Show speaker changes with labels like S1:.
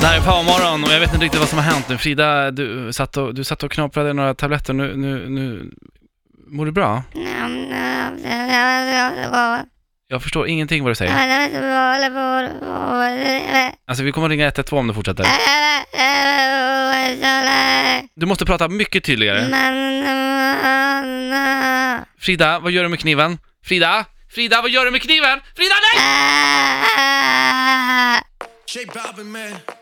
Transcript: S1: Det här är Powermorgon och jag vet inte riktigt vad som har hänt nu. Frida, du satt och, du satt och knaprade några tabletter. Nu, nu, nu... Mår du bra? Jag förstår ingenting vad du säger. Alltså vi kommer att ringa 112 om du fortsätter. Du måste prata mycket tydligare. Frida, vad gör du med kniven? Frida? Frida, vad gör du med kniven? Frida, nej!
S2: J Balvin man.